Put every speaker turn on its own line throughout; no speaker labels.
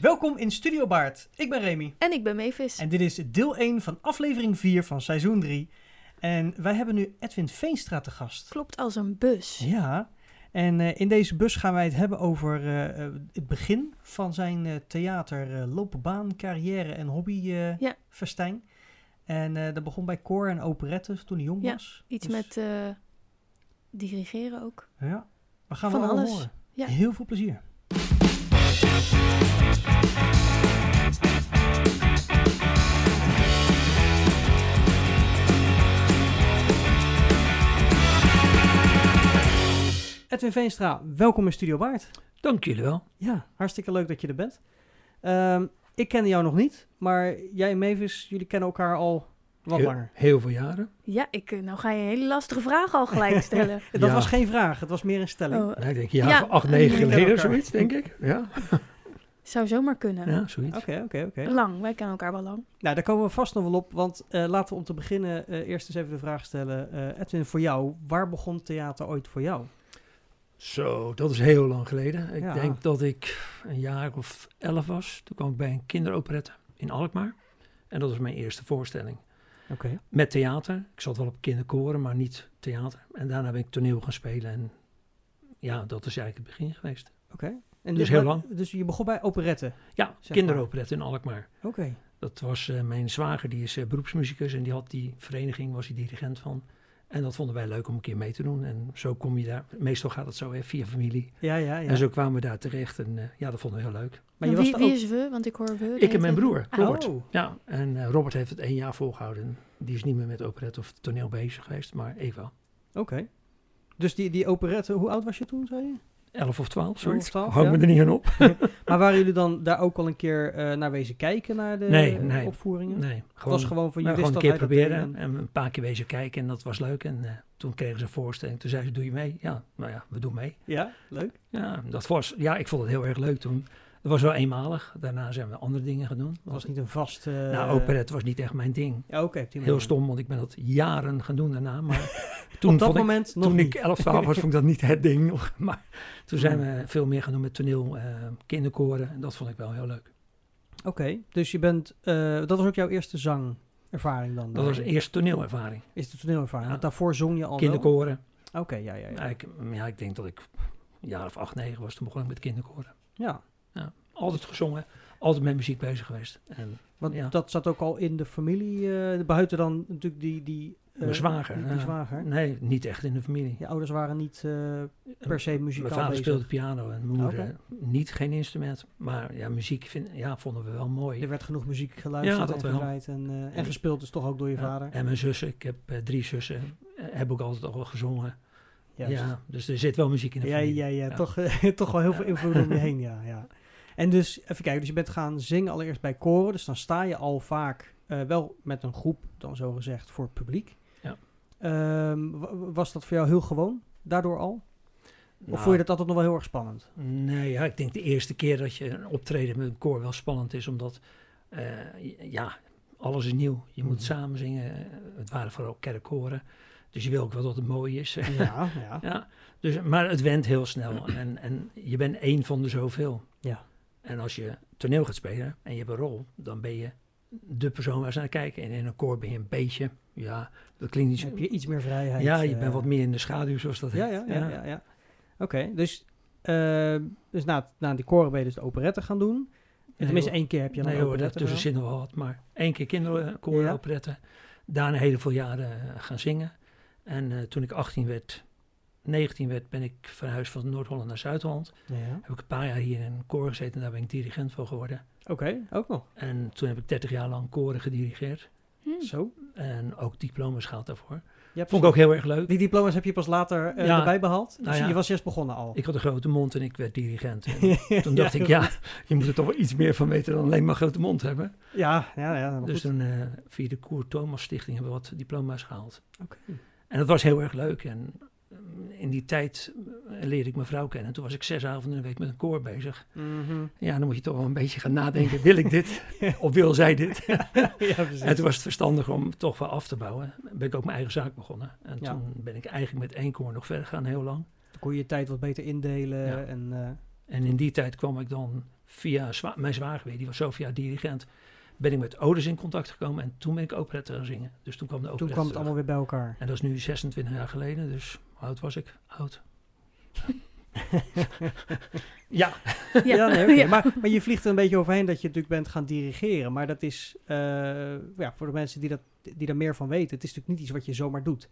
Welkom in Studio Baard. Ik ben Remy.
En ik ben Mavis.
En dit is deel 1 van aflevering 4 van seizoen 3. En wij hebben nu Edwin Veenstra te gast.
Klopt als een bus.
Ja, en eh, in deze bus gaan wij het hebben over eh, eh, het begin van zijn eh, theater, eh, loopbaan, carrière en hobby eh,
Ja.
festijn. En eh, dat begon bij koor en operettes toen hij jong
Ja,
was.
Iets
Dus,
met eh, dirigeren ook.
Ja, we gaan
van
wel allemaal
alles.
horen.
Ja.
Heel veel plezier. Edwin Veenstra, welkom in Studio Baard.
Dank jullie wel.
Ja, hartstikke leuk dat je er bent. Ehm, ik kende jou nog niet, maar jij en Mavis, jullie kennen elkaar al wat
heel,
langer.
Heel veel jaren.
Ja, ik, eh, nou ga je een hele lastige vraag al gelijk stellen.
Dat
Ja.
was geen vraag, het was meer een stelling.
Oh,
Nou, ik denk een jaar
Ja,
of acht,
eh,
negen
kennen
geleden,
elkaar.
zoiets, denk ik. Ja,
zou zomaar kunnen.
ja zoiets.
Oké, oké, oké.
Lang, wij kennen elkaar wel lang.
Nou, daar komen we vast nog wel op, want eh, laten we om te beginnen eh, eerst eens even de vraag stellen. eh, Edwin, voor jou, waar begon theater ooit voor jou?
Zo, dat is heel lang geleden. Ik
Ja.
denk dat ik een jaar of elf was. Toen kwam ik bij een kinderoperette in Alkmaar. En dat was mijn eerste voorstelling.
Oké.
Met theater. Ik zat wel op kinderkoren, maar niet theater. En daarna ben ik toneel gaan spelen. En ja, dat is eigenlijk het begin geweest.
En
Dus
je-
heel lang.
Dus je begon bij operetten.
Ja,
maar.
kinderoperette in Alkmaar.
Oké.
Dat was eh, mijn zwager, die is eh, beroepsmuzikus en die had die vereniging, was hij dirigent van. En dat vonden wij leuk om een keer mee te doen. En zo kom je daar, meestal gaat het zo hè, via familie.
Ja, ja, ja.
En zo kwamen we daar terecht en eh, ja, dat vonden we heel leuk.
Maar je
Nou,
was
wie,
er
wie
ook...
is we? Want ik hoor we. de
Ik
hele
en mijn
tijd.
broer,
Ah,
Robert.
Oh.
Ja, en eh, Robert heeft het één jaar volgehouden. Die is niet meer met operet of toneel bezig geweest, maar even wel.
Oké. Dus die, die operette, hoe oud was je toen, zei je?
Elf of twaalf, zoiets.
of 12,
Hang me
ja.
er niet aan op.
Maar waren jullie dan daar ook al een keer eh, naar wezen kijken, naar de
Nee,
eh,
nee.
opvoeringen?
Nee,
Het
gewoon,
was gewoon van, je
maar
wist
gewoon een
dat
keer
hij dat
proberen
deed
en,
en-
een paar keer wezen kijken en dat was leuk. En eh, toen kregen ze een voorstelling. Toen zei ze, doe je mee? Ja, nou ja, we doen mee.
Ja, leuk.
Ja, dat was, ja, ik vond het heel erg leuk toen. Het was wel eenmalig. Daarna zijn we andere dingen gaan doen.
Het was niet een vast... eh,
nou, operet was niet echt mijn ding.
Ja, oké. op die
Heel
manier.
stom, want ik ben dat jaren gaan doen daarna. Maar
Op
toen,
dat
vond ik,
moment nog
toen
niet.
ik 11, 12 was, vond ik dat niet het ding. nog. Maar toen zijn
Hmm.
we veel meer gaan doen met toneel, eh, kinderkoren. En dat vond ik wel heel leuk.
Oké, dus je bent... eh, dat was ook jouw eerste zangervaring dan?
Dat was
dan?
de eerste toneelervaring.
Is de toneelervaring?
Ja.
Want daarvoor zong je al Oh, wel?
Kinderkoren.
Oké, ja, ja, ja.
Ja. Ik, ja, ik denk dat ik een jaar of acht, negen was. Toen begon ik met kinderkoren.
Ja,
Altijd gezongen. Altijd met muziek bezig geweest. En
want
Ja.
dat zat ook al in de familie, eh buiten dan natuurlijk die... die eh,
Mijn zwager,
Die, die
ja.
zwager.
nee, niet echt in de familie.
Je ouders waren niet eh, per se muzikaal
Mijn vader
bezig.
speelde piano en mijn moeder eh,
Oké.
niet, geen instrument. Maar ja, muziek vind, ja, vonden we wel mooi.
Er werd genoeg muziek geluisterd
Ja, dat
en
wel.
gedraaid en, eh, en gespeeld dus toch ook door je
Ja,
vader.
En mijn zussen, ik heb eh, drie zussen, eh, heb ook altijd al gezongen.
Juist.
Ja, dus er zit wel muziek in de
Ja,
familie.
ja, ja,
Ja.
Toch, eh, toch wel heel veel invloed om je heen, ja, ja. En dus, even kijken, dus je bent gaan zingen allereerst bij koren. Dus dan sta je al vaak eh, wel met een groep, dan zo gezegd, voor het publiek.
Ja.
Ehm, wa- wa- was dat voor jou heel gewoon, daardoor al? Of
Nou,
vond je dat altijd nog wel heel erg spannend?
Nee, ja, ik denk de eerste keer dat je een optreden met een koor wel spannend is, omdat eh, ja, alles is nieuw. Je moet
Mhm.
samen zingen. eh, Het waren vooral kerkkoren, dus je wil ook wel dat het mooi is.
Ja, ja.
Ja, dus, maar het went heel snel. En, en je bent één van de zoveel.
Ja.
En als je toneel gaat spelen en je hebt een rol, dan ben je de persoon waar ze naar kijken. En in een koor ben je een beetje, ja, dat klinkt niet
Dus
zo...
heb je iets meer vrijheid.
ja, je
eh,
bent wat meer in de schaduw, zoals dat
Ja,
heet.
ja, ja, ja. ja. Oké, dus, eh, dus na, het- na die koren ben je dus de operette gaan doen.
Nee,
Tenminste,
hoor.
één keer heb je dan
Nee
een
hoor,
operette
tussen
gedaan.
zin wel wat. Maar één keer kinderkoor
Ja.
operetten. Daarna heel veel jaren eh, gaan zingen. En eh, toen ik 18 werd, 19 werd, ben ik verhuisd van Noord-Holland naar Zuid-Holland.
Ja.
Heb ik een paar jaar hier in een koor gezeten en daar ben ik dirigent van geworden.
Oké, ook nog.
En toen heb ik 30 jaar lang koren gedirigeerd.
Hm.
Zo.
En ook diploma's gehaald daarvoor.
Ja,
Hmm. Vond ik ook heel erg leuk.
Die diploma's heb je pas later eh,
Ja.
erbij behaald. Dus
Nou ja.
je was eerst begonnen al.
Ik had een grote mond en ik werd dirigent. En toen dacht
Ja,
ik,
heel
ja, je moet er toch wel iets meer van weten dan alleen maar grote mond hebben.
Ja, ja, ja. maar
dus
goed.
toen eh, via de Koer Thomas Stichting hebben we wat diploma's gehaald.
Oké.
En dat was heel erg leuk. En mm, in die tijd eh, leerde ik mijn vrouw kennen. En toen was ik zes avonden in de week met een koor bezig.
Mhm.
Ja, dan moet je toch wel een beetje gaan nadenken. Wil ik dit? of wil zij dit?
ja, precies.
En toen was het verstandig om toch wel af te bouwen. Ben ik ook mijn eigen zaak begonnen. En
Ja.
toen ben ik eigenlijk met één koor nog verder gegaan, heel lang.
Toen kon je je tijd wat beter indelen.
Ja.
En, eh,
En in die tijd kwam ik dan via zwa- mijn zwager weer, die was zo via dirigent, ben ik met ouders in contact gekomen en toen ben ik operette gaan zingen. Dus toen kwam de
Toen
operette
kwam het
terug.
allemaal weer bij elkaar.
En dat is nu 26 jaar geleden, dus hoe oud was ik? Oud. ja,
Ja, nee, oké.
Ja.
Maar, maar je vliegt er een beetje overheen dat je natuurlijk bent gaan dirigeren. Maar dat is, eh, ja, voor de mensen die, dat, die daar meer van weten, het is natuurlijk niet iets wat je zomaar doet.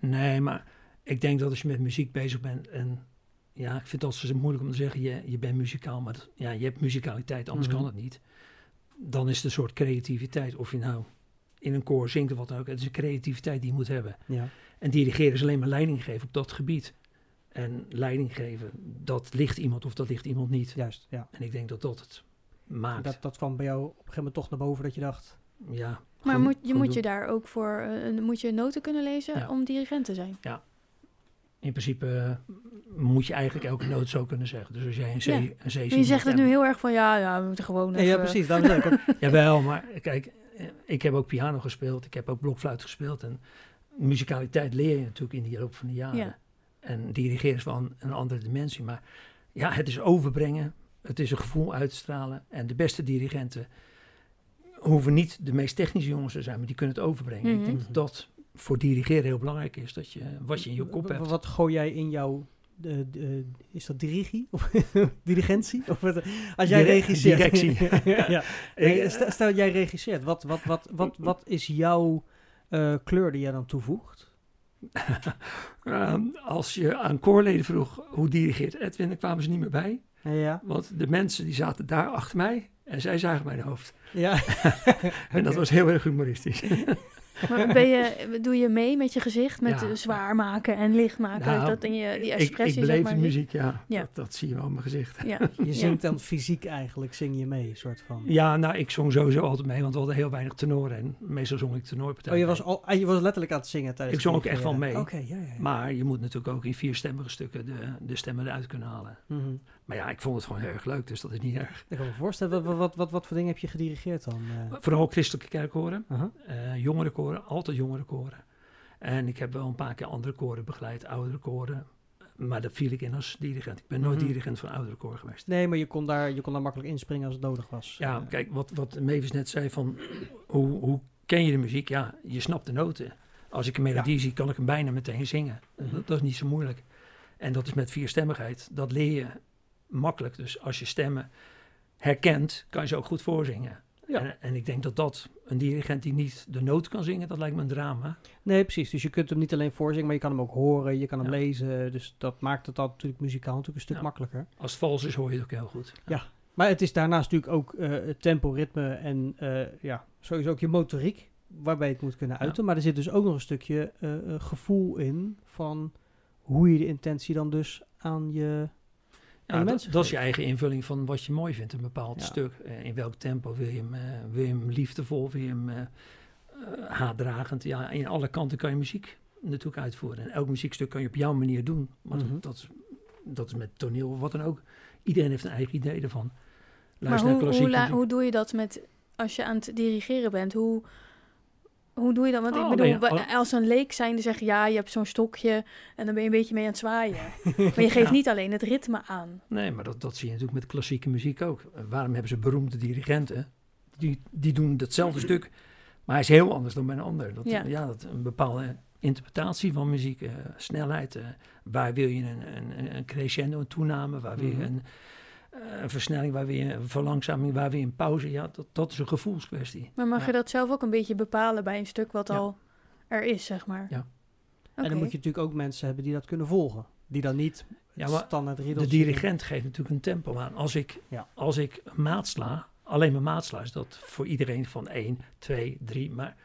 nee, maar ik denk dat als je met muziek bezig bent en ja, ik vind het altijd zo moeilijk om te zeggen, je, je bent muzikaal, maar dat- ja, je hebt muzikaliteit, anders
Mhm.
kan het niet. Dan is het een soort creativiteit, of je nou in een koor zingt of wat dan ook. Het is een creativiteit die je moet hebben.
Ja.
En dirigeren is alleen maar leiding geven op dat gebied. En leiding geven, dat ligt iemand of dat ligt iemand niet.
Juist, ja.
En ik denk dat dat het maakt.
Dat, dat kwam bij jou op een gegeven moment toch naar boven dat je dacht,
Ja,
Maar
gewoon-
moet, je
gewoon
moet
doen.
je daar ook voor, eh, een- moet je noten kunnen lezen
Ja.
om dirigent te zijn?
In principe eh, moet je eigenlijk elke noot zo kunnen zeggen. Dus als jij een C,
Ja.
een C zingt...
Maar je zegt
ja,
het nu heel erg van ja, ja we moeten gewoon.
nee, ja
even-
precies, dat is leuk. want-
Jawel, maar kijk, eh, ik heb ook piano gespeeld. Ik heb ook blokfluit gespeeld. En muzikaliteit leer je natuurlijk in de loop van de jaren.
Ja.
En dirigeren is wel een, een andere dimensie. Maar ja, het is overbrengen. Het is een gevoel uitstralen. En de beste dirigenten hoeven niet de meest technische jongens te zijn. Maar die kunnen het overbrengen. Ik
Mhm.
denk dat dat voor dirigeren heel belangrijk is. Dat je wat je in je kop
Wa-
hebt.
Wat gooi jij in jouw, eh, eh, is dat dirigie? Of dirigentie? Of wat, als jij
Dire-
regisseert.
directie.
ja.
Ik-
Eh, stel, stel jij regisseert, wat, wat, wat, wat, wat is jouw eh, kleur die jij dan toevoegt?
Ehm, als je aan koorleden vroeg hoe dirigeert Edwin, dan kwamen ze niet meer bij.
Ja,
Want de mensen die zaten daar achter mij en zij zagen mijn hoofd.
ja.
En dat was heel erg humoristisch.
Maar ben je, doe je mee met je gezicht, met
Ja.
eh, zwaar maken en licht maken?
Nou,
dat in je, die
ik,
expressie zeg
ik beleef
maar.
de muziek, ja.
Ja.
Dat, dat zie je wel op mijn gezicht.
Ja.
je zingt dan fysiek eigenlijk, zing je mee, soort van.
Ja, nou, ik zong sowieso altijd mee, want we hadden heel weinig tenoren. En meestal zong ik tenorpartijen.
Oh, je
mee.
was, al, ah, je was letterlijk aan het zingen tijdens
Ik zong
het
ook echt
leren.
wel mee.
Oké, ja, ja. ja.
Maar je moet natuurlijk ook in vierstemmige stukken de, de stemmen eruit kunnen halen.
Mhm.
Maar ja, ik vond het gewoon heel erg leuk, dus dat is niet erg.
Ik kan me voorstellen, wat- wat, wat, wat, wat voor dingen heb je gedirigeerd dan? eh?
Vooral christelijke kerkkoren.
Aha.
eh jongerenkoren, altijd jongerenkoren. En ik heb wel een paar keer andere koren begeleid, oudere koren. Maar daar viel ik in als dirigent. Ik ben nooit
Mhm.
dirigent van oudere koren geweest.
Nee, maar je kon, daar, je kon daar makkelijk inspringen als het nodig was.
Ja,
Eh,
kijk, wat, wat Mevis net zei van hoe, hoe ken je de muziek? Ja, je snapt de noten. Als ik een melodie zie, kan ik hem bijna meteen zingen.
Mhm.
Dat, dat is niet zo moeilijk. En dat is met vierstemmigheid. Dat leer je makkelijk. Dus als je stemmen herkent, kan je ze ook goed voorzingen.
Ja.
En, en ik denk dat dat, een dirigent die niet de noot kan zingen, dat lijkt me een drama.
Nee, precies. Dus je kunt hem niet alleen voorzingen, maar je kan hem ook horen, je kan hem
Ja.
lezen. Dus dat maakt het dan natuurlijk muzikaal natuurlijk een stuk
Ja.
makkelijker.
Als het vals is, hoor je het ook heel goed.
Maar het is daarnaast natuurlijk ook eh, het tempo, ritme en eh, ja, sowieso ook je motoriek, waarbij je het moet kunnen uiten. Maar er zit dus ook nog een stukje eh, eh, gevoel in van hoe je de intentie dan dus aan je...
Ja, dat,
mensen
dat is je
geven.
eigen invulling van wat je mooi vindt, een bepaald
Ja.
stuk. Eh, in welk tempo wil je hem, eh, wil je hem liefdevol, wil je hem eh, eh, haatdragend. Ja, in alle kanten kan je muziek natuurlijk uitvoeren. En elk muziekstuk kan je op jouw manier doen. Maar dat-
Mhm.
dat, is- dat is met toneel of wat dan ook. Iedereen heeft een eigen idee ervan.
Maar hoe,
Luister naar
hoe,
klassieke
la-
muziek.
hoe doe je dat met, als je aan het dirigeren bent, hoe, hoe doe je dat? Want
Oh,
ik bedoel,
nee,
we-
al-
als een leek zijnde zeg je ja, je hebt zo'n stokje en dan ben je een beetje mee aan het zwaaien. maar je geeft
Ja.
niet alleen het ritme aan.
Nee, maar dat, dat zie je natuurlijk met klassieke muziek ook. Eh, Waarom hebben ze beroemde dirigenten? Die, die doen datzelfde stuk, maar hij is heel anders dan bij een ander. Dat,
Ja.
ja. dat een bepaalde interpretatie van muziek, eh, snelheid. eh, waar wil je een, een, een- een crescendo, een toename? Waar wil je
Mhm.
een, eh, een versnelling? Waar wil je een verlangzaming? Waar wil je een pauze? Ja, dat, dat is een gevoelskwestie.
Maar mag
Ja.
je dat zelf ook een beetje bepalen bij een stuk wat
Ja.
al er is, zeg maar?
Ja.
En
Oké.
dan moet je natuurlijk ook mensen hebben die dat kunnen volgen. Die dan niet
Ja,
ja,
maar
standaard
De
riddeltje...
dirigent geeft natuurlijk een tempo aan. Als ik,
Ja.
als ik een maat sla, alleen mijn maat sla, is dat voor iedereen van 1, 2, 3. Maar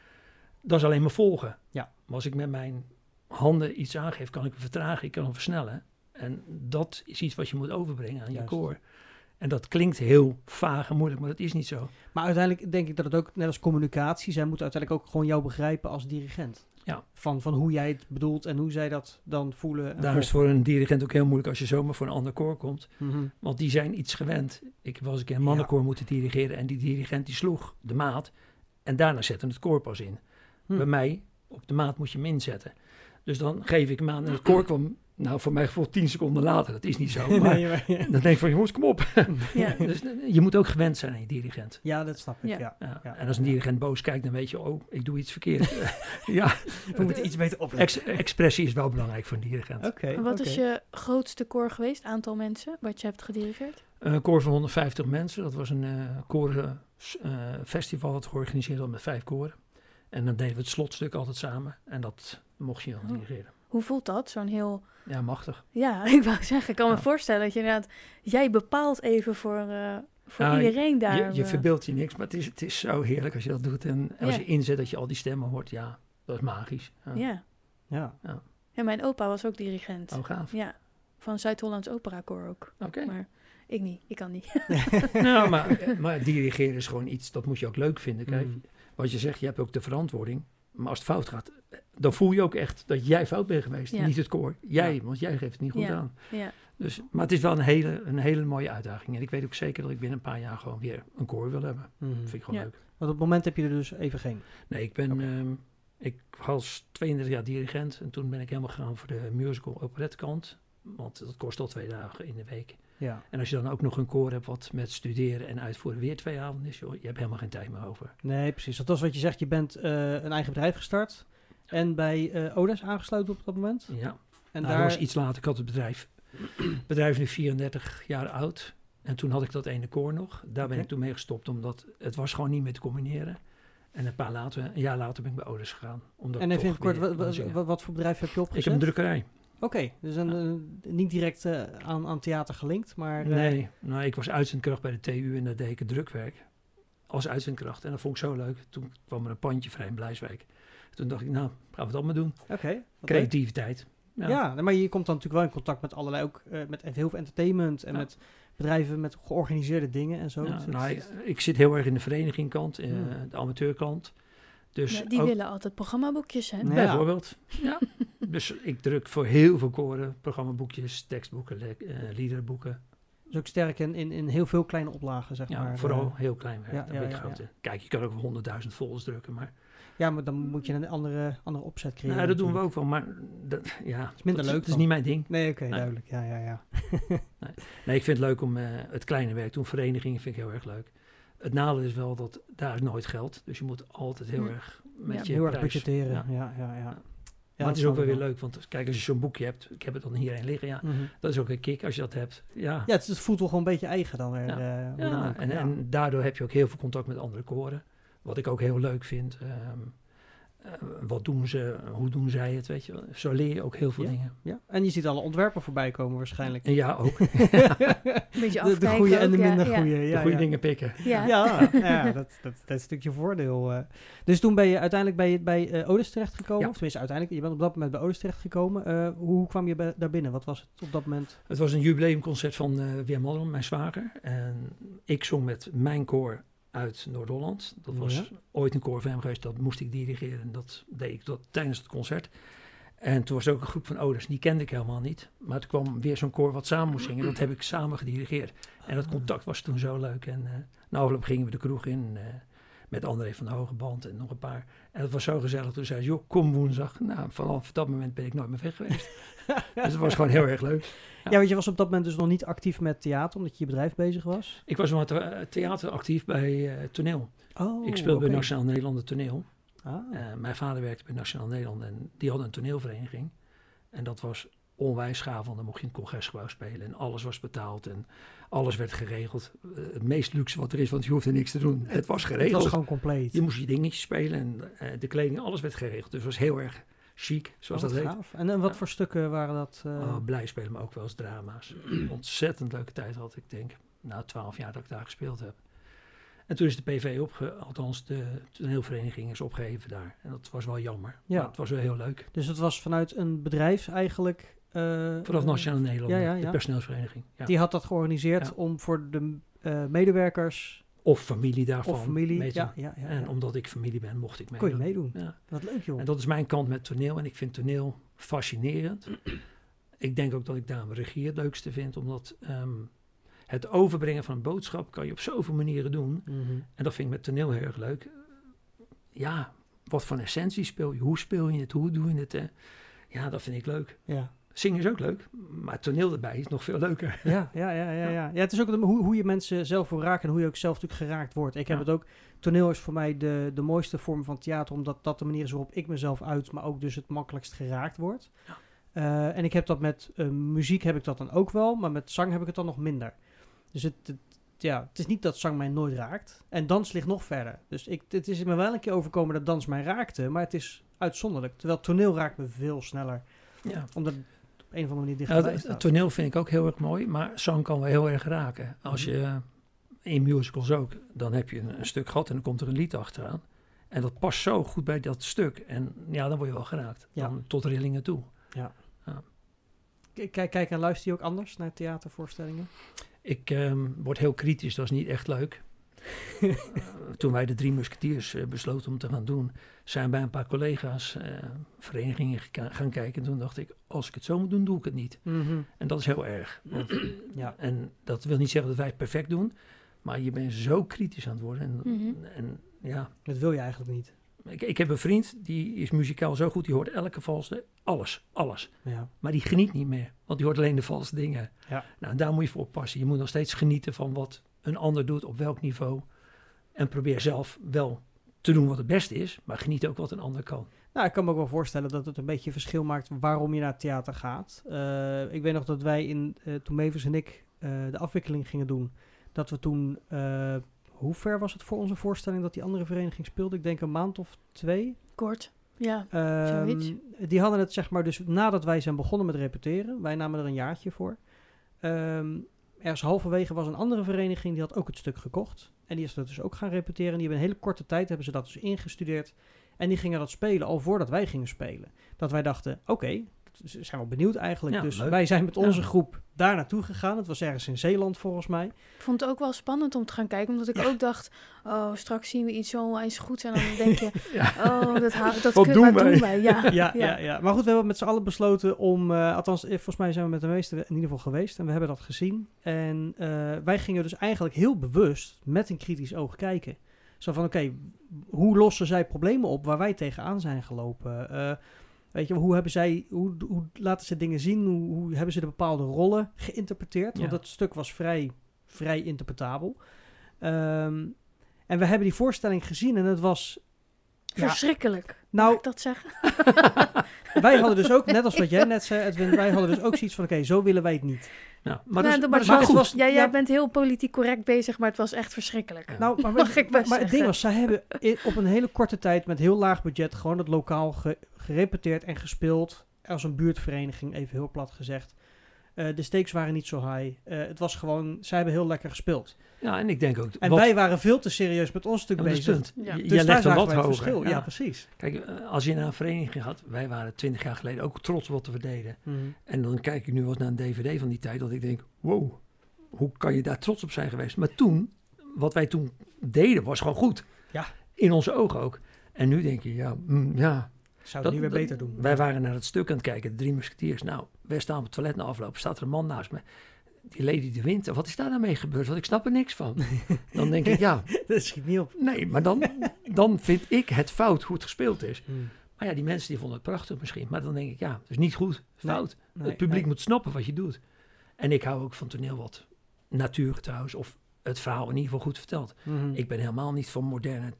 dat is alleen maar volgen.
Ja.
Maar als ik met mijn handen iets aangeef, kan ik hem vertragen, ik kan hem versnellen. En dat is iets wat je moet overbrengen aan
Juist.
je koor. En dat klinkt heel vaag en moeilijk, maar dat is niet zo.
Maar uiteindelijk denk ik dat het ook, net als communicatie, zij moeten uiteindelijk ook gewoon jou begrijpen als dirigent.
Ja.
Van, van hoe jij het bedoelt en hoe zij dat dan voelen. En
Daarom is het voor een dirigent ook heel moeilijk als je zomaar voor een ander koor komt.
volgen. Mhm.
Want die zijn iets gewend. Ik was een keer een mannenkoor moeten dirigeren en die dirigent die sloeg de maat. En daarna zette het koor pas in.
Hm.
Bij mij, op de maat moet je hem inzetten. Dus dan geef ik hem aan en het koor kwam Nou, voor mijn gevoel tien seconden later, dat is niet zo. Maar
Nee, maar- ja.
dan denk ik van, jongens, kom op.
Ja.
Dus eh, je moet ook gewend zijn aan je dirigent.
Ja, dat snap ik, ja.
Ja.
Ja.
Ja.
En als een dirigent boos kijkt, dan weet je, oh, ik doe iets verkeerd. ja,
We moeten iets beter opletten.
ex- expressie is wel belangrijk voor een dirigent.
Oké.
Wat
oké.
is je grootste koor geweest, aantal mensen, wat je hebt gedirigeerd?
Een koor van 150 mensen. Dat was een eh korenfestival wat georganiseerd was met vijf koren. En dan deden we het slotstuk altijd samen. En dat mocht je dan
Oh.
dirigeren.
Hoe voelt dat? Zo'n heel.
Ja, machtig.
Ja, ik wou zeggen, ik kan me
Ja.
voorstellen dat je inderdaad. Jij bepaalt even voor, eh, voor
Nou,
iedereen daar.
je je
eh,
verbeeldt je niks, maar het is, het is zo heerlijk als je dat doet. En, en als
Ja.
je inzet dat je al die stemmen hoort, ja, dat is magisch. Ja.
Ja.
Ja.
En mijn opa was ook dirigent.
Oh, gaaf.
Ja. Van Zuid-Hollands Opera Koor ook.
Oké.
Maar ik niet, ik kan niet.
Nou, maar, maar dirigeren is gewoon iets, dat moet je ook leuk vinden. Kijk,
Mm.
wat je zegt, je hebt ook de verantwoording. Maar als het fout gaat, eh, dan voel je ook echt dat jij fout bent geweest.
Ja.
Niet het koor. Jij,
Ja.
want jij geeft het niet goed
Ja.
aan.
ja.
Dus, maar het is wel een hele, een hele mooie uitdaging. En ik weet ook zeker dat ik binnen een paar jaar gewoon weer een koor wil hebben.
Mhm.
Dat vind ik gewoon
Ja.
leuk.
Want op het moment heb je er dus even geen.
Nee, ik ben...
Oké.
ehm, ik was 32 jaar dirigent. En toen ben ik helemaal gegaan voor de musical operette kant. Want dat kost al twee dagen in de week.
Ja.
En als je dan ook nog een koor hebt wat met studeren en uitvoeren weer twee avonden is. Joh, je hebt helemaal geen tijd meer over.
Nee, precies. Want Dat is wat je zegt. Je bent eh, een eigen bedrijf gestart. En bij eh Oda is aangesloten op dat moment.
Ja.
En
nou,
daar...
dat was iets later. Ik had het bedrijf, het bedrijf nu 34 jaar oud. En toen had ik dat ene koor nog. Daar ben
Oké.
ik toen mee gestopt, omdat het was gewoon niet meer te combineren. En een, paar later, een jaar later ben ik bij Odes gegaan. Omdat
en even in
toch
het kort,
weer
wat,
kon
wat,
zingen.
wat- wat voor bedrijf heb je
ik
opgezet?
heb een drukkerij.
Oké, dus een, eh, niet direct eh, aan, aan theater gelinkt, maar... eh,
Nee, nou, ik was uitzendkracht bij de TU en daar deed ik het drukwerk. Als uitzendkracht. En dat vond ik zo leuk. Toen kwam er een pandje vrij in Blijswijk. Toen dacht ik, nou, gaan we dat maar doen.
Oké. wat leuk.
Creativiteit.
Ja,
Ja.
nee, maar je komt dan natuurlijk wel in contact met allerlei, ook eh, met heel veel entertainment en
Ja.
met bedrijven met georganiseerde dingen en zo.
Ja,
Dus het-
nou, ik, ik zit heel erg in de verenigingkant, eh,
Hmm.
de amateurkant. Dus
Ja, die
ook-
willen altijd programmaboekjes, hè?
Nee. Ja.
Bijvoorbeeld. Ja. dus ik druk voor heel veel koren, programmaboekjes, tekstboeken, le- eh, liederenboeken.
is dus ook sterk in, in, in heel veel kleine oplagen, zeg
Ja,
maar.
vooral
Eh,
heel klein werk.
ja,
daar
ja,
ben ik
ja,
groot in. Kijk, je kan ook honderdduizend volgers drukken, maar
ja, maar dan moet je een andere, andere opzet creëren.
nou, dat doen we
natuurlijk.
ook wel. Maar dat, ja,
is minder
dat
leuk
Dat is
dan.
niet mijn ding.
Nee, oké,
Nee.
duidelijk. Ja, ja, ja.
Nee, ik vind het leuk om eh, het kleine werk te doen. Verenigingen vind ik heel erg leuk. Het nadeel is wel dat daar is nooit geld. Dus je moet altijd heel
Ja.
erg met
Ja.
je
Heel erg
prijs-
budgetteren.
Ja.
Ja, ja, ja. ja.
maar
dat
het is ook
snap
wel
ik
weer leuk, want kijk, als je zo'n boekje hebt, ik heb het dan hierheen liggen, ja,
Mhm.
dat is ook een kick als je dat hebt. Ja,
Ja, het, het voelt toch gewoon een beetje eigen dan weer.
Ja.
eh, hoe dan
Ja,
ook.
en,
ja.
en daardoor heb je ook heel veel contact met andere koren. Wat ik ook heel leuk vind. ehm, eh, wat doen ze? Hoe doen zij het? Weet je? wel. Zo leer je ook heel veel dingen.
Ja, en je ziet alle ontwerpen voorbij komen waarschijnlijk.
En ja, ook
Een beetje
De, de
afkijken
goede en
ook,
de
ja,
minder
ja,
goede. Ja,
de
ja.
goede dingen pikken.
Ja.
Ja, ja dat, dat, dat is natuurlijk je voordeel. eh. Dus toen ben je uiteindelijk bij, bij eh Odes terechtgekomen.
Ja.
Of tenminste, uiteindelijk, je bent op dat moment bij Odes terechtgekomen. Eh, hoe, hoe kwam je bij- daar binnen? Wat was het op dat moment?
Het was een jubileumconcert van eh Wim Mallorum, mijn zwager. En ik zong met mijn koor uit Noord-Holland. Dat was
Ja.
ooit een koor van hem geweest. Dat moest ik dirigeren. En dat deed ik dat, tijdens het concert. En toen was er ook een groep van oders. Die kende ik helemaal niet. Maar toen kwam weer zo'n koor wat samen moest zingen. Dat heb ik samen gedirigeerd. En dat contact was toen zo leuk. En eh na afloop gingen we de kroeg in. eh, met André van de Hogeband en nog een paar. En dat was zo gezellig. Toen zei ze, joh, kom woensdag. Nou, vanaf dat moment ben ik nooit meer weg geweest. dus het was gewoon heel erg leuk.
Ja. want je was op dat moment dus nog niet actief met theater, omdat je je bedrijf bezig was.
Ik was maar the- theater actief bij eh, toneel.
Oh,
ik speelde bij
oké.
Nationaal Nederland toneel.
Ah,
Eh, mijn vader werkte bij Nationaal Nederland en die had een toneelvereniging. En dat was onwijs gaaf, want dan mocht je in het congresgebouw spelen. En alles was betaald en alles werd geregeld. Eh, het meest luxe wat er is, want je hoefde niks te doen. Het was
het
geregeld.
was gewoon compleet.
Je moest je dingetjes spelen en eh, de kleding, alles werd geregeld. Dus het was heel erg chic, zoals
Oh,
dat heet.
gaaf. En, en wat
Ja.
voor stukken waren dat? eh?
Oh, blij spelen, maar ook wel eens drama's. Ontzettend leuke tijd had ik, denk na twaalf jaar dat ik daar gespeeld heb. En toen is de PV opge... Althans, de toneelvereniging is opgeheven daar. En dat was wel jammer.
Ja.
Maar het was wel heel leuk.
Dus het was vanuit een bedrijf eigenlijk. eh,
Vanaf
eh,
Nationaal Nederland,
ja, ja,
de
ja.
personeelsvereniging. Ja.
Die had dat georganiseerd
Ja.
om voor de eh, medewerkers
Of familie daarvan.
of familie.
mee te
Ja,
doen.
ja, ja,
En
ja.
omdat ik familie ben, mocht ik
kon je
meedoen.
meedoen.
Ja.
Wat leuk joh.
En dat is mijn kant met toneel. En ik vind toneel fascinerend. ik denk ook dat ik daarom regie het leukste vind. Omdat ehm, het overbrengen van een boodschap kan je op zoveel manieren doen.
Mhm.
En dat vind ik met toneel heel erg leuk. Ja, wat voor een essentie speel je? Hoe speel je het? Hoe doe je het? Hè? Ja, dat vind ik leuk.
Ja.
Zingen is ook leuk, maar toneel erbij is nog veel leuker.
Ja, ja, ja, ja, ja. ja het is ook de- hoe, hoe je mensen zelf wil raken en hoe je ook zelf natuurlijk geraakt wordt. Ik heb
Ja.
het ook, toneel is voor mij de, de mooiste vorm van theater, omdat dat de manier is waarop ik mezelf uit, maar ook dus het makkelijkst geraakt word.
Ja.
Eh, en ik heb dat met eh, muziek heb ik dat dan ook wel, maar met zang heb ik het dan nog minder. Dus het, het- ja, het is niet dat zang mij nooit raakt. En dans ligt nog verder. Dus ik, het is me wel een keer overkomen dat dans mij raakte, maar het is uitzonderlijk. Terwijl toneel raakt me veel sneller,
Ja.
omdat het op een of andere manier
Nou,
dichterbij
het, het
staat.
toneel vind ik ook heel erg mooi, maar zang kan wel heel erg raken. Als je eh, in musicals ook, dan heb je een, een stuk gehad en dan komt er een lied achteraan. En dat past zo goed bij dat stuk. En ja, dan word je wel geraakt.
Ja.
Dan tot rillingen toe.
K- Kijk, kijk en luister je ook anders naar theatervoorstellingen?
Ik ehm, word heel kritisch, dat is niet echt leuk. Eh, toen wij de Drie Musketeers eh, besloten om te gaan doen, zijn bij een paar collega's eh, verenigingen geka- gaan kijken. En toen dacht ik, als ik het zo moet doen, doe ik het niet. En dat is heel erg. Want
Ja.
En dat wil niet zeggen dat wij het perfect doen, maar je bent zo kritisch aan het worden. En,
Mhm.
en ja,
Dat wil je eigenlijk niet.
ik, ik heb een vriend die is muzikaal zo goed, die hoort elke valse, alles, alles.
Ja.
Maar die geniet niet meer, want die hoort alleen de valse dingen.
Ja.
Nou, daar moet je voor oppassen. Je moet nog steeds genieten van wat een ander doet, op welk niveau. En probeer zelf wel te doen wat het beste is, maar geniet ook wat een ander kan.
Nou, ik kan me ook wel voorstellen dat het een beetje verschil maakt waarom je naar het theater gaat. Eh, ik weet nog dat wij in, eh, toen Mevers en ik eh, de afwikkeling gingen doen, dat we toen, eh, hoe ver was het voor onze voorstelling dat die andere vereniging speelde? Ik denk een maand of twee.
Kort. Ja.
Ehm,
Zoiets.
die hadden het zeg maar dus nadat wij zijn begonnen met repeteren. Wij namen er een jaartje voor. Ehm ergens halverwege was een andere vereniging die had ook het stuk gekocht. En die is dat dus ook gaan repeteren. Die hebben in een hele korte tijd hebben ze dat dus ingestudeerd. En die gingen dat spelen al voordat wij gingen spelen. Dat wij dachten, oké, dat z- zijn we benieuwd eigenlijk.
Ja,
dus
leuk.
wij zijn met onze
Ja.
groep daar naartoe gegaan. Het was ergens in Zeeland volgens mij.
Ik vond het ook wel spannend om te gaan kijken, omdat ik ook dacht, oh, straks zien we iets zo onwijs goed en dan denk je, oh, dat, ha- dat
Wat
kun-
doen
wat
wij?
doen wij? Ja.
ja,
Ja.
ja, ja. Maar goed, we hebben met z'n allen besloten om... eh, althans, eh, volgens mij zijn we met de meesten in ieder geval geweest. En we hebben dat gezien. En eh, wij gingen dus eigenlijk heel bewust met een kritisch oog kijken. Zo van, oké, hoe lossen zij problemen op waar wij tegenaan zijn gelopen? Eh, weet je, hoe, hebben zij, hoe, hoe laten ze dingen zien? Hoe, hoe hebben ze de bepaalde rollen geïnterpreteerd? Want
Ja.
dat stuk was vrij, vrij interpretabel. Ehm, en we hebben die voorstelling gezien en het was... ja,
Verschrikkelijk.
nou,
Mag ik dat zeggen?
wij hadden dus ook, net als wat jij net zei, Edwin, wij hadden dus ook zoiets van: oké, zo willen wij het niet.
Nou,
Nou,
maar dat
dat-
is-
maar
maar dat is
het
wel goed.
was-
Ja, jij
ja.
bent heel politiek correct bezig, maar het was echt verschrikkelijk.
Ja.
Nou, maar,
Mag ik best
maar het ding
zeggen.
was, zij hebben i- op een hele korte tijd met heel laag budget gewoon het lokaal ge- gerepeteerd en gespeeld. Als een buurtvereniging, even heel plat gezegd. Eh, de stakes waren niet zo high. Eh, het was gewoon, zij hebben heel lekker gespeeld.
Ja, en ik denk ook...
En
wat-
wij waren veel te serieus met ons stuk
Ja, maar dat is
bezig.
het punt.
Ja.
Je-
Dus
Jij
daar
legt een
zagen
lat
wij het
hoger.
verschil. Ja,
Ja.
precies.
Kijk, eh, als je naar een vereniging gaat, wij waren twintig jaar geleden ook trots op wat we deden. En dan kijk ik nu wel eens naar een dvd van die tijd, dat ik denk, wow, hoe kan je daar trots op zijn geweest? Maar toen, wat wij toen deden, was gewoon goed.
Ja.
In onze ogen ook. En nu denk je, ja, mm, ja.
Zouden we nu weer beter doen.
Wij waren naar het stuk aan het kijken, de drie musketiers. Nou, wij staan op het toilet na afloop, staat er een man naast me. Die Lady de Winter, wat is daar nou mee gebeurd? Want ik snap er niks van. Dan denk ik, ja,
dat schiet niet op.
nee, maar dan, dan vind ik het fout hoe het gespeeld is. Maar ja, die mensen die vonden het prachtig misschien. Maar dan denk ik, ja, het is niet goed. Fout.
Nee,
het publiek
nee.
moet snappen wat je doet. En ik hou ook van toneel wat natuurgetrouwens. Of het verhaal in ieder geval goed verteld.
Mhm.
Ik ben helemaal niet van moderne...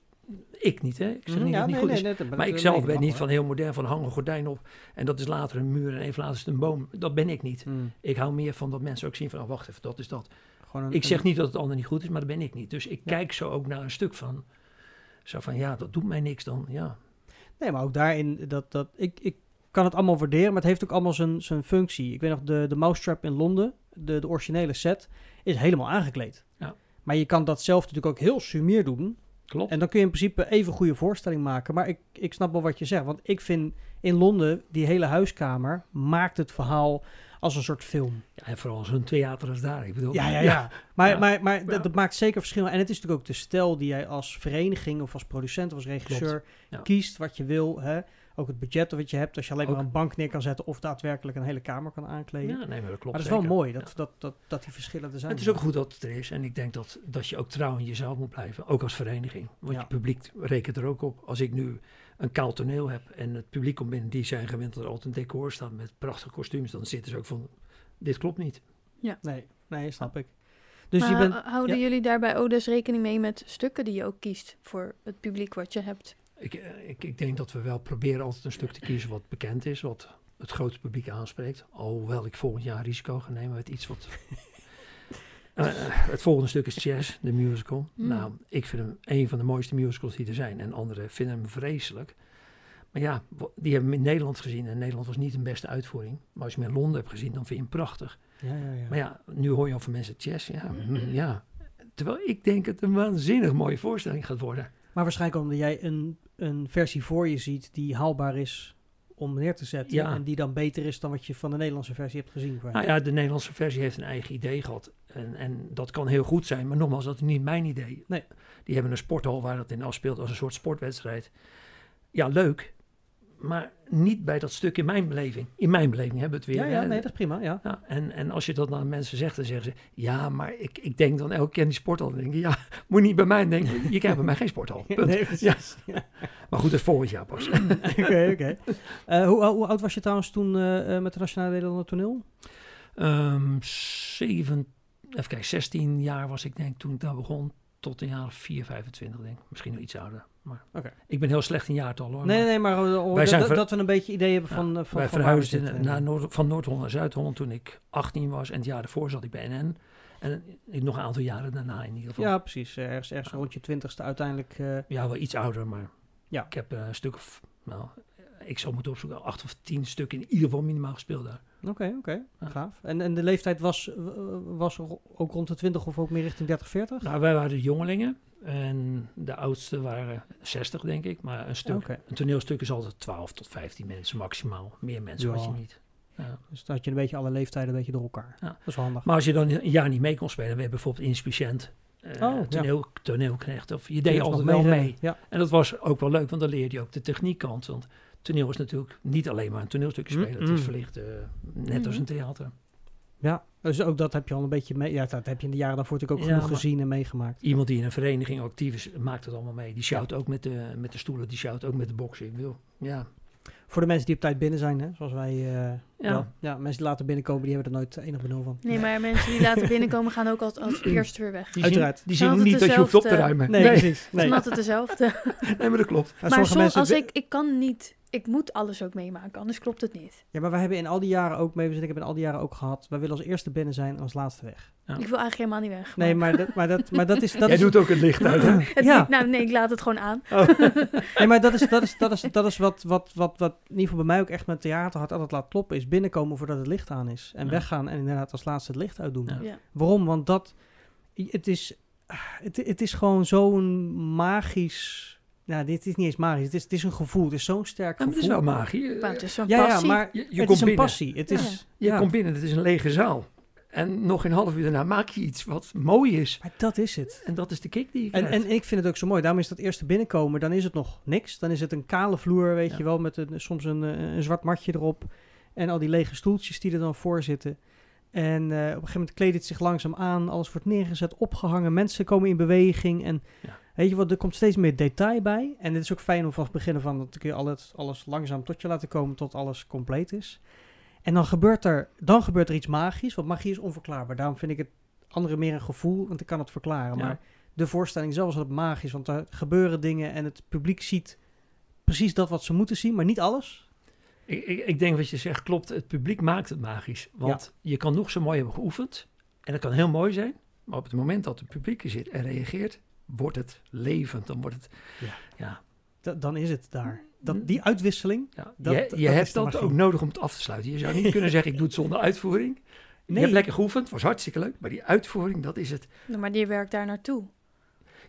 Ik niet, hè. Ik zeg
Mhm.
niet
Ja,
dat het niet
nee,
goed
nee,
is.
nee, dat-
maar
dat-
ik
nee,
zelf
dat
ben
mag
niet
hoor.
van heel modern, van hangen gordijn op. En dat is later een muur en even later is het een boom. Dat ben ik niet.
Mhm.
Ik hou meer van dat mensen ook zien van, oh, wacht even, dat is dat.
Mm, Gewoon een-
Ik
een-
zeg niet dat het ander niet goed is, maar dat ben ik niet. Dus ik kijk zo ook naar een stuk van, zo van, ja, dat doet mij niks dan. Ja,
Nee, maar ook daarin, dat, dat, ik, ik kan het allemaal waarderen, maar het heeft ook allemaal zijn, zijn functie. Ik weet nog, de, de Mousetrap in Londen, de, de originele set, is helemaal aangekleed.
Ja.
Maar je kan dat zelf natuurlijk ook heel sumier doen.
klopt.
En dan kun je in principe even goede voorstelling maken. Maar ik, ik snap wel wat je zegt. Want ik vind in Londen, die hele huiskamer, maakt het verhaal als een soort film.
Ja, en vooral zo'n theater als daar. Ik bedoel,
Ja, ja, ja. Maar,
Ja.
maar, maar
Ja.
dat, dat maakt zeker verschil. En het is natuurlijk ook de stijl die jij als vereniging of als producent of als regisseur
Ja.
kiest wat je wil. Hè? Ook het budget wat je hebt. Als je alleen maar
Ook.
een bank neer kan zetten of daadwerkelijk een hele kamer kan aankleden.
Ja, nee, maar dat klopt.
maar dat is
zeker.
wel mooi dat,
Ja.
dat, dat, dat die verschillen er zijn.
Het is ook goed dat het er is. En ik denk dat, dat je ook trouw in jezelf moet blijven. Ook als vereniging. Want
Ja.
je publiek rekent er ook op. Als ik nu een kaal toneel heb en het publiek komt binnen, die zijn gewend dat er altijd een decor staat met prachtige kostuums, dan zitten ze ook van, dit klopt niet.
Nee, nee, snap ik. Dus
maar
je bent...
hou- houden
ja.
jullie daarbij ook dus rekening mee met stukken die je ook kiest voor het publiek wat je hebt?
Ik, eh, ik, ik denk dat we wel proberen altijd een stuk te kiezen wat bekend is, wat het grote publiek aanspreekt. Alhoewel ik volgend jaar risico ga nemen met iets wat... Eh, eh, het volgende stuk is Chess, de musical.
Hmm.
Nou, ik vind hem een van de mooiste musicals die er zijn. En anderen vinden hem vreselijk. Maar ja, wa- die hebben hem in Nederland gezien. En Nederland was niet een beste uitvoering. Maar als je hem in Londen hebt gezien, dan vind je hem prachtig.
Ja, ja, ja.
eh, Maar ja, nu hoor je over mensen Chess. Ja, mm, ja. Terwijl ik denk dat het een waanzinnig mooie voorstelling gaat worden.
Maar waarschijnlijk omdat jij een, een versie voor je ziet die haalbaar is om neer te zetten.
Ja.
En die dan beter is dan wat je van de Nederlandse versie hebt gezien. qua-
Nou ja, de Nederlandse versie heeft een eigen idee gehad. En, en dat kan heel goed zijn, maar nogmaals, dat is niet mijn idee.
Nee.
Die hebben een sporthal waar dat in afspeelt als een soort sportwedstrijd. Ja, leuk, maar niet bij dat stuk in mijn beleving. In mijn beleving hebben we het
ja,
weer. eh,
ja,
hè.
nee, dat is prima. Ja.
Ja, en, en als je dat aan mensen zegt, dan zeggen ze... Ja, maar ik, ik denk dan elke keer aan die sporthal. Dan denk ik, ja, moet je niet bij mij denken. Je krijgt bij mij geen sporthal. Punt.
Nee, precies. Ja.
Maar goed, dat is volgend jaar pas.
Oké, oké. Eh, hoe, hoe oud was je trouwens toen eh, eh, met de Nationale Nederlandse Toneel?
Oh, Ehm, zeven, even kijken, 16 jaar was ik denk ik toen ik daar begon. Tot een jaar of 4, 25 denk ik. Misschien nog iets ouder. Maar
Oké.
ik ben heel slecht in jaartallen. hoor,
Nee,
maar
nee, maar eh, om-
Wij zijn
dat-
ver-
dat we een beetje idee hebben
Ja,
van, eh, van,
Wij
van waar we
verhuisden
zitten.
naar Noord- van Noord-Holland naar Zuid-Holland toen ik 18 was. En het jaar daarvoor zat ik bij NN. En ik nog een aantal jaren daarna in ieder geval.
Ja, precies. Eh, Ergens, ergens rond je twintigste uiteindelijk. eh,
Ja, wel iets ouder, maar
Ja.
ik heb eh, een stuk of, nou, ik zal moeten opzoeken, acht of tien stukken in ieder geval minimaal gespeeld daar.
Oké, oké.
Ja.
Gaaf. En, en de leeftijd was, eh, was ro- ook rond de 20 of ook meer richting 30, 40?
Nou, wij waren jongelingen en de oudste waren 60 denk ik, maar een stuk
Oké.
Een toneelstuk is altijd 12 tot 15 mensen maximaal. Meer mensen
Ja.
had je niet. Ja.
Dus dan had je een beetje alle leeftijden een beetje door elkaar.
Ja.
Dat is wel handig.
Maar als je dan een jaar niet mee kon spelen, we hebben bijvoorbeeld inspiciënt, eh
Oh, ja.
toneel, toneelknecht, of je
Kun
deed
je
altijd
nog eh.
wel
meerennen.
mee.
Ja.
En dat was ook wel leuk, want dan leerde je ook de techniekkant. Want toneel is natuurlijk niet alleen maar een toneelstukje spelen, het
Mm-mm.
is verlicht eh,
Mm.
net als een theater.
ja, dus ook dat heb je al een beetje mee. Ja, dat heb je in de jaren daarvoor natuurlijk ook
Ja,
genoeg
maar-
gezien en meegemaakt.
Iemand die in een vereniging actief is, maakt het allemaal mee. Die shout ook met de, met de stoelen, die shout ook met de boksen. Ik bedoel, Ja,
Voor de mensen die op tijd binnen zijn, hè, zoals wij. eh,
Ja.
wel. ja, mensen die later binnenkomen, die hebben er nooit enig benul van.
Nee, maar mensen die later binnenkomen gaan ook als, als eerste weer weg.
die
Uiteraard.
zien, die
Zijn
zien
altijd
niet dat je hoeft op te
dezelfde-
ruimen.
Nee,
Nee,
precies. Nee.
Dan had het dezelfde.
nee, maar dat klopt.
Maar
maar
sommige
soms
mensen
als
wi-
ik, ik kan niet, ik moet alles ook meemaken, anders klopt het niet.
Ja, maar we hebben in al die jaren ook, mee, ik hebben in al die jaren ook gehad. Wij willen als eerste binnen zijn en als laatste weg.
Ja.
Ik wil eigenlijk helemaal niet weg.
Nee, maar dat, maar dat, maar dat is. Dat
Jij
is
doet ook het licht uit. hè?
Het-
ja.
Nou, nee, ik laat het gewoon aan.
Nee, maar dat is, dat is, dat is, dat is wat, wat, wat, wat in ieder geval bij mij ook echt met theater had altijd laat kloppen. Is binnenkomen voordat het licht aan is. En
Ja.
weggaan en inderdaad als laatste het licht uitdoen.
Ja.
Ja.
Waarom? Want dat, het is, het, het is gewoon zo'n magisch, nou dit is niet eens magisch, het is, het is een gevoel. Het is zo'n sterk
Ja, maar
gevoel.
het is wel magie.
Maar het is zo'n
ja, ja,
passie.
maar
Je, je
het
komt
is een
binnen.
passie. Het
Ja.
is,
Je
ja.
komt binnen, het is een lege zaal. En nog een half uur daarna maak je iets wat mooi is.
Maar dat is het.
En dat is de kick die je
En,
krijgt.
en ik vind het ook zo mooi. Daarom is dat eerste binnenkomen, dan is het nog niks. Dan is het een kale vloer, weet
Ja.
je wel, met een, soms een, eh, een zwart matje erop. En al die lege stoeltjes die er dan voor zitten. En eh, op een gegeven moment kleedt het zich langzaam aan. Alles wordt neergezet, opgehangen. Mensen komen in beweging. En
Ja.
weet je wat, er komt steeds meer detail bij. En het is ook fijn om vanaf het begin van, dat kun je alles, alles langzaam tot je laten komen, tot alles compleet is. En dan gebeurt er, dan gebeurt er iets magisch, want magie is onverklaarbaar. Daarom vind ik het andere meer een gevoel, want ik kan het verklaren.
Ja.
Maar de voorstelling zelf is wat magisch, want er gebeuren dingen en het publiek ziet precies dat wat ze moeten zien, maar niet alles.
ik, ik, ik denk wat je zegt klopt. Het publiek maakt het magisch. Want je kan nog zo mooi hebben geoefend. En dat kan heel mooi zijn. Maar op het moment dat het publiek er zit en reageert, wordt het levend. Dan wordt het...
Ja.
Ja.
Da- dan is het daar. Dat, die uitwisseling.
ja.
Dat-
je
dat
je
is
hebt
de
dat
magie.
ook nodig om het af te sluiten. Je zou niet kunnen zeggen, ik doe het zonder uitvoering. Je
Nee.
hebt lekker geoefend, was hartstikke leuk. Maar die uitvoering, dat is het.
Nou, Maar die werkt daar naartoe.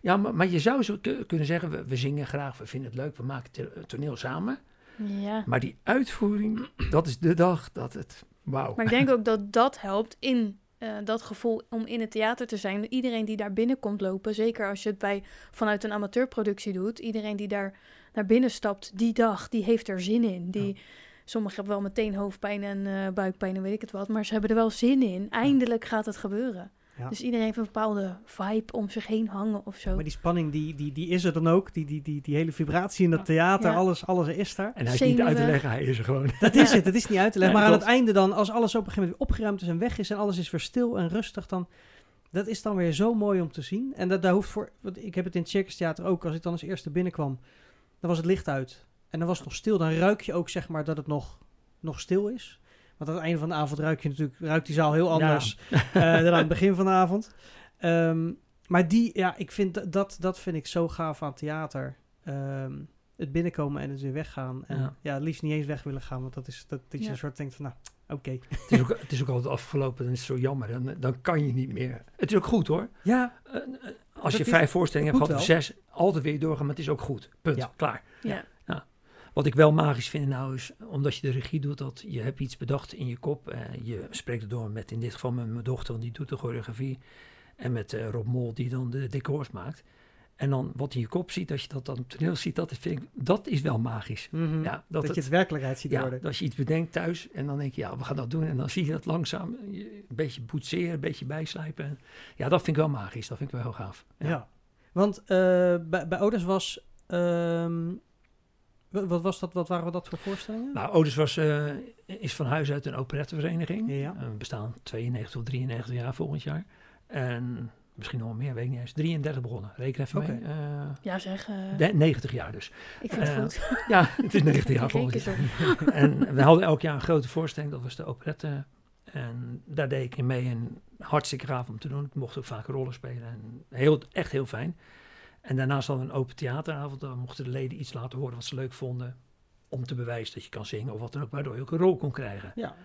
Ja, maar, maar je zou zo ku- kunnen zeggen, we, we zingen graag, we vinden het leuk, we maken to- toneel samen.
Ja.
Maar die uitvoering, dat is de dag dat het, wauw.
Maar ik denk ook dat dat helpt in eh, dat gevoel om in het theater te zijn. Iedereen die daar binnen komt lopen, zeker als je het bij, vanuit een amateurproductie doet, iedereen die daar naar binnen stapt die dag, die heeft er zin in. Die, Sommigen hebben wel meteen hoofdpijn en eh, buikpijn en weet ik het wat, maar ze hebben er wel zin in. Eindelijk gaat het gebeuren.
Ja.
Dus iedereen heeft een bepaalde vibe om zich heen hangen of zo.
Maar die spanning, die, die, die is er dan ook. Die, die, die, die hele vibratie in het theater,
Ja.
alles, alles is daar.
En hij is niet
Zenuwen.
uit te leggen, hij is er gewoon.
Dat is het, dat is niet uit te leggen.
Nee,
maar aan het
klopt.
einde dan, als alles op een gegeven moment opgeruimd is en weg is en alles is weer stil en rustig, dan dat is dan weer zo mooi om te zien. En dat, daar hoeft voor, want ik heb het in het Circus Theater ook, als ik dan als eerste binnenkwam, dan was het licht uit en dan was het nog stil. Dan ruik je ook zeg maar dat het nog, nog stil is. Want aan het einde van de avond ruik je natuurlijk, ruikt die zaal heel anders eh, dan aan het begin van de avond. Ehm, maar die, ja, ik vind dat- dat, dat vind ik zo gaaf aan theater. Ehm, het binnenkomen en het weer weggaan. En ja.
Ja.
het liefst niet eens weg willen gaan, want dat is dat, dat je
Ja.
een soort denkt van, nou, oké.
Het is, ook, het is ook altijd afgelopen, dan is het zo jammer. Dan, dan kan je niet meer. Het is ook goed hoor.
Ja,
Eh, eh, Als
Dat
je
is-
vijf voorstellingen
dat
hebt gehad of
moet
zes, altijd weer doorgaan, maar het is ook goed. Punt,
Ja.
klaar.
ja.
Wat ik wel magisch vind nou is, omdat je de regie doet, dat je hebt iets bedacht in je kop. eh, je spreekt het door met in dit geval met mijn dochter, want die doet de choreografie. En met eh, Rob Mol, die dan de decors maakt. En dan wat je in je kop ziet, als je dat dan op toneel ziet, dat, vind ik, dat is wel magisch.
Mhm.
Ja,
dat,
dat, het-
je het werkelijkheid ziet
ja,
worden.
als je iets bedenkt thuis en dan denk je, ja, we gaan dat doen. En dan zie je dat langzaam, eh, je- een beetje boetseren, een beetje bijslijpen. Ja, dat vind ik wel magisch. Dat vind ik wel heel gaaf.
Ja. Want eh, bij, bij Odes was, ehm, wa- wat was dat, wat waren we dat voor voorstellingen?
Nou, Otis was, eh, is van huis uit een operettevereniging.
Ja.
Eh, we bestaan 92 of 93 jaar volgend jaar. En misschien nog wel meer, weet ik niet eens. 33 begonnen, reken even
Oké.
mee. Eh,
Ja, zeg. eh,
de- 90 jaar dus.
ik vind
eh,
het goed.
Ja, het is 90 jaar
Ik denk
volgend
het
jaar.
zo.
En we hadden elk jaar een grote voorstelling, dat was de operette. En daar deed ik in mee en hartstikke gaaf om te doen. Ik mocht ook vaak rollen spelen en heel, echt heel fijn. En daarnaast hadden we een open theateravond, daar mochten de leden iets laten horen wat ze leuk vonden. Om te bewijzen dat je kan zingen of wat dan ook, waardoor je ook een rol kon krijgen.
Ja,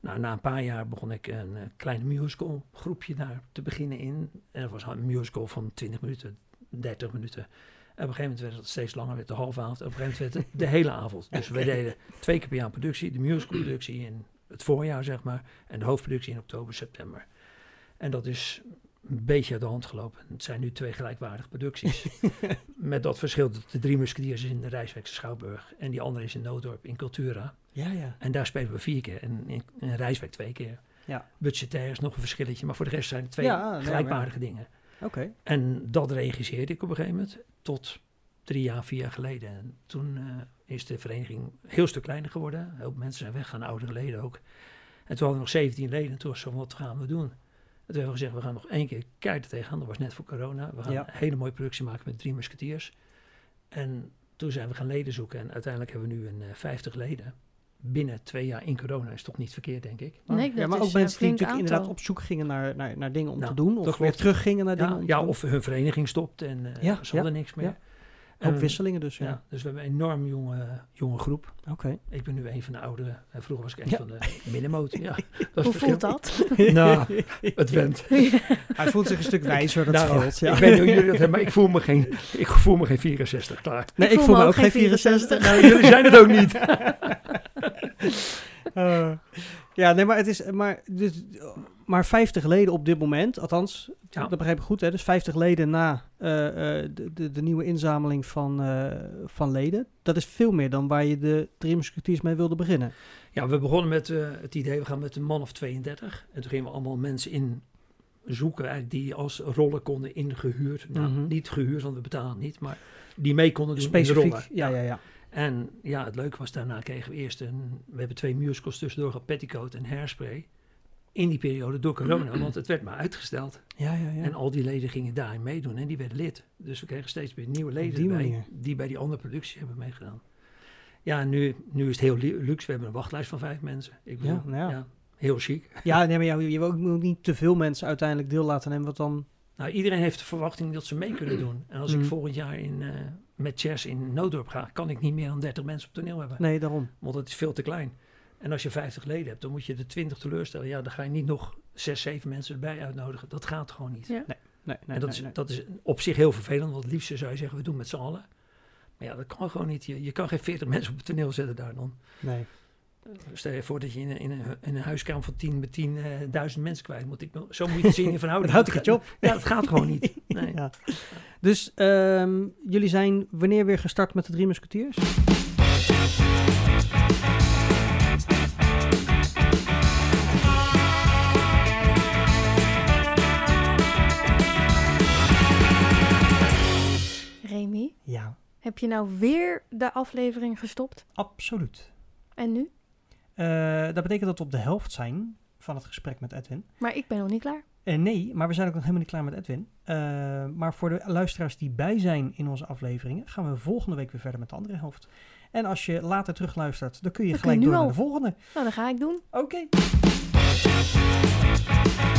Nou, na een paar jaar begon ik een eh, klein musical groepje daar te beginnen in. En dat was een musical van 20 minuten, 30 minuten. En op een gegeven moment werd het steeds langer, werd de halve avond. En op een gegeven moment werd het de hele avond. Dus we deden twee keer per jaar een productie. De musicalproductie in het voorjaar, zeg maar. En de hoofdproductie in oktober, september. En dat is een beetje uit de hand gelopen. Het zijn nu twee gelijkwaardige producties. Met dat verschil dat de Drie Musketeers is in de Rijswijkse Schouwburg. En die andere is in Noodorp in Cultura.
ja, ja.
En daar spelen we vier keer. En in, in Rijswijk twee keer.
Ja.
Budgetair is nog een verschilletje. Maar voor de rest zijn het twee
Ja, nee,
gelijkwaardige dingen.
Oké.
En dat regisseerde ik op een gegeven moment. Tot drie jaar, vier jaar geleden. En toen eh, is de vereniging een heel stuk kleiner geworden. Heel veel mensen zijn weggegaan, oudere leden ook. En toen hadden we nog 17 leden. En toen was het zo, wat gaan we doen? En toen hebben we gezegd, we gaan nog één keer keihard tegenaan. Dat was net voor corona. We gaan
Ja.
een hele mooie productie maken met drie musketeers. En toen zijn we gaan leden zoeken. En uiteindelijk hebben we nu een eh 50 leden. Binnen twee jaar in corona is toch niet verkeerd, denk ik.
Nee, dat
ja, maar
is
ook
een
mensen die
flink
natuurlijk inderdaad
aantal.
op zoek gingen naar, naar, naar dingen om
Nou,
te doen. Of
dat
weer
klopt.
terug gingen naar dingen
Ja,
om te
ja,
doen.
of hun vereniging stopt en eh,
Ja,
ze hadden niks meer.
ja.
En-
ook wisselingen dus. Ja.
ehm, Ja, dus we hebben een enorm jonge, jonge groep.
Oké.
Ik ben nu een van de ouderen. En vroeger was ik een
Ja.
van de middenmoot. Ja, dat is
Hoe
verschil.
voelt dat?
Nou, het went.
Hij voelt zich een stuk wijzer, dat
Nou,
scheelt. Ja.
Ik weet niet hoe jullie dat hebben, maar ik voel me geen, ik voel me geen 64, klaar.
Nee, ik voel me ook geen 64.
Nou, jullie zijn het ook niet.
Eh, ja, nee, maar het is maar, dus, maar 50 leden op dit moment, althans,
Ja.
dat begrijp ik goed, hè? Dus 50 leden na eh, eh, de, de, de nieuwe inzameling van, eh, van leden. Dat is veel meer dan waar je de drie musketeers mee wilde beginnen.
Ja, we begonnen met eh, het idee, we gaan met een man of 32. En toen gingen we allemaal mensen in zoeken eigenlijk die als rollen konden ingehuurd. Nou,
Mhm.
niet gehuurd, want we betalen niet, maar die mee konden doen in de
Specifiek.
rollen.
Ja, ja, ja.
En ja, het leuke was daarna kregen we eerst een... We hebben twee musicals tussendoor gehad, Petticoat en Hairspray. In die periode door corona, want het werd maar uitgesteld.
Ja, ja, ja.
En al die leden gingen daarin meedoen en die werden lid. Dus we kregen steeds meer nieuwe leden
die
erbij,
manier.
die bij die andere productie hebben meegedaan. Ja, en nu, nu is het heel lu- luxe. We hebben een wachtlijst van vijf mensen. Ik bedoel,
Ja, nou ja.
heel chic.
ja, nee, maar ja, je wil ook moet niet te veel mensen uiteindelijk deel laten nemen, want dan...
Nou, iedereen heeft de verwachting dat ze mee kunnen doen. En als
Mm.
ik volgend jaar in, eh, met Chess in Noodorp ga, kan ik niet meer dan 30 mensen op toneel hebben.
Nee, daarom.
Want dat is veel te klein. En als je 50 leden hebt, dan moet je de 20 teleurstellen. Ja, dan ga je niet nog 6, 7 mensen erbij uitnodigen. Dat gaat gewoon niet.
Ja.
Nee, nee,
en dat,
nee,
is,
nee.
dat is op zich heel vervelend, want het liefste zou je zeggen, we doen met z'n allen. Maar ja, dat kan gewoon niet. Je, je kan geen 40 mensen op het toneel zetten daar dan.
Nee.
Stel je voor dat je in een, in een, in een huiskamer van 10 met 10.000 mensen kwijt moet. Ik, zo moet je het zien in verhouding.
houdt een
op. Ja, dat gaat gewoon niet. Nee.
Ja. Dus ehm, jullie zijn wanneer weer gestart met de Drie Musketeers?
Remy,
Ja,
heb je nou weer de aflevering gestopt?
Absoluut.
En nu?
Eh, dat betekent dat we op de helft zijn van het gesprek met Edwin.
Maar ik ben nog niet klaar.
Eh, nee, maar we zijn ook nog helemaal niet klaar met Edwin. Eh, maar voor de luisteraars die bij zijn in onze afleveringen, gaan we volgende week weer verder met de andere helft. En als je later terugluistert, dan kun je
Nou, Dan kun
gelijk
je
door
nu
naar
al.
de volgende.
Nou, dat ga ik doen.
Oké.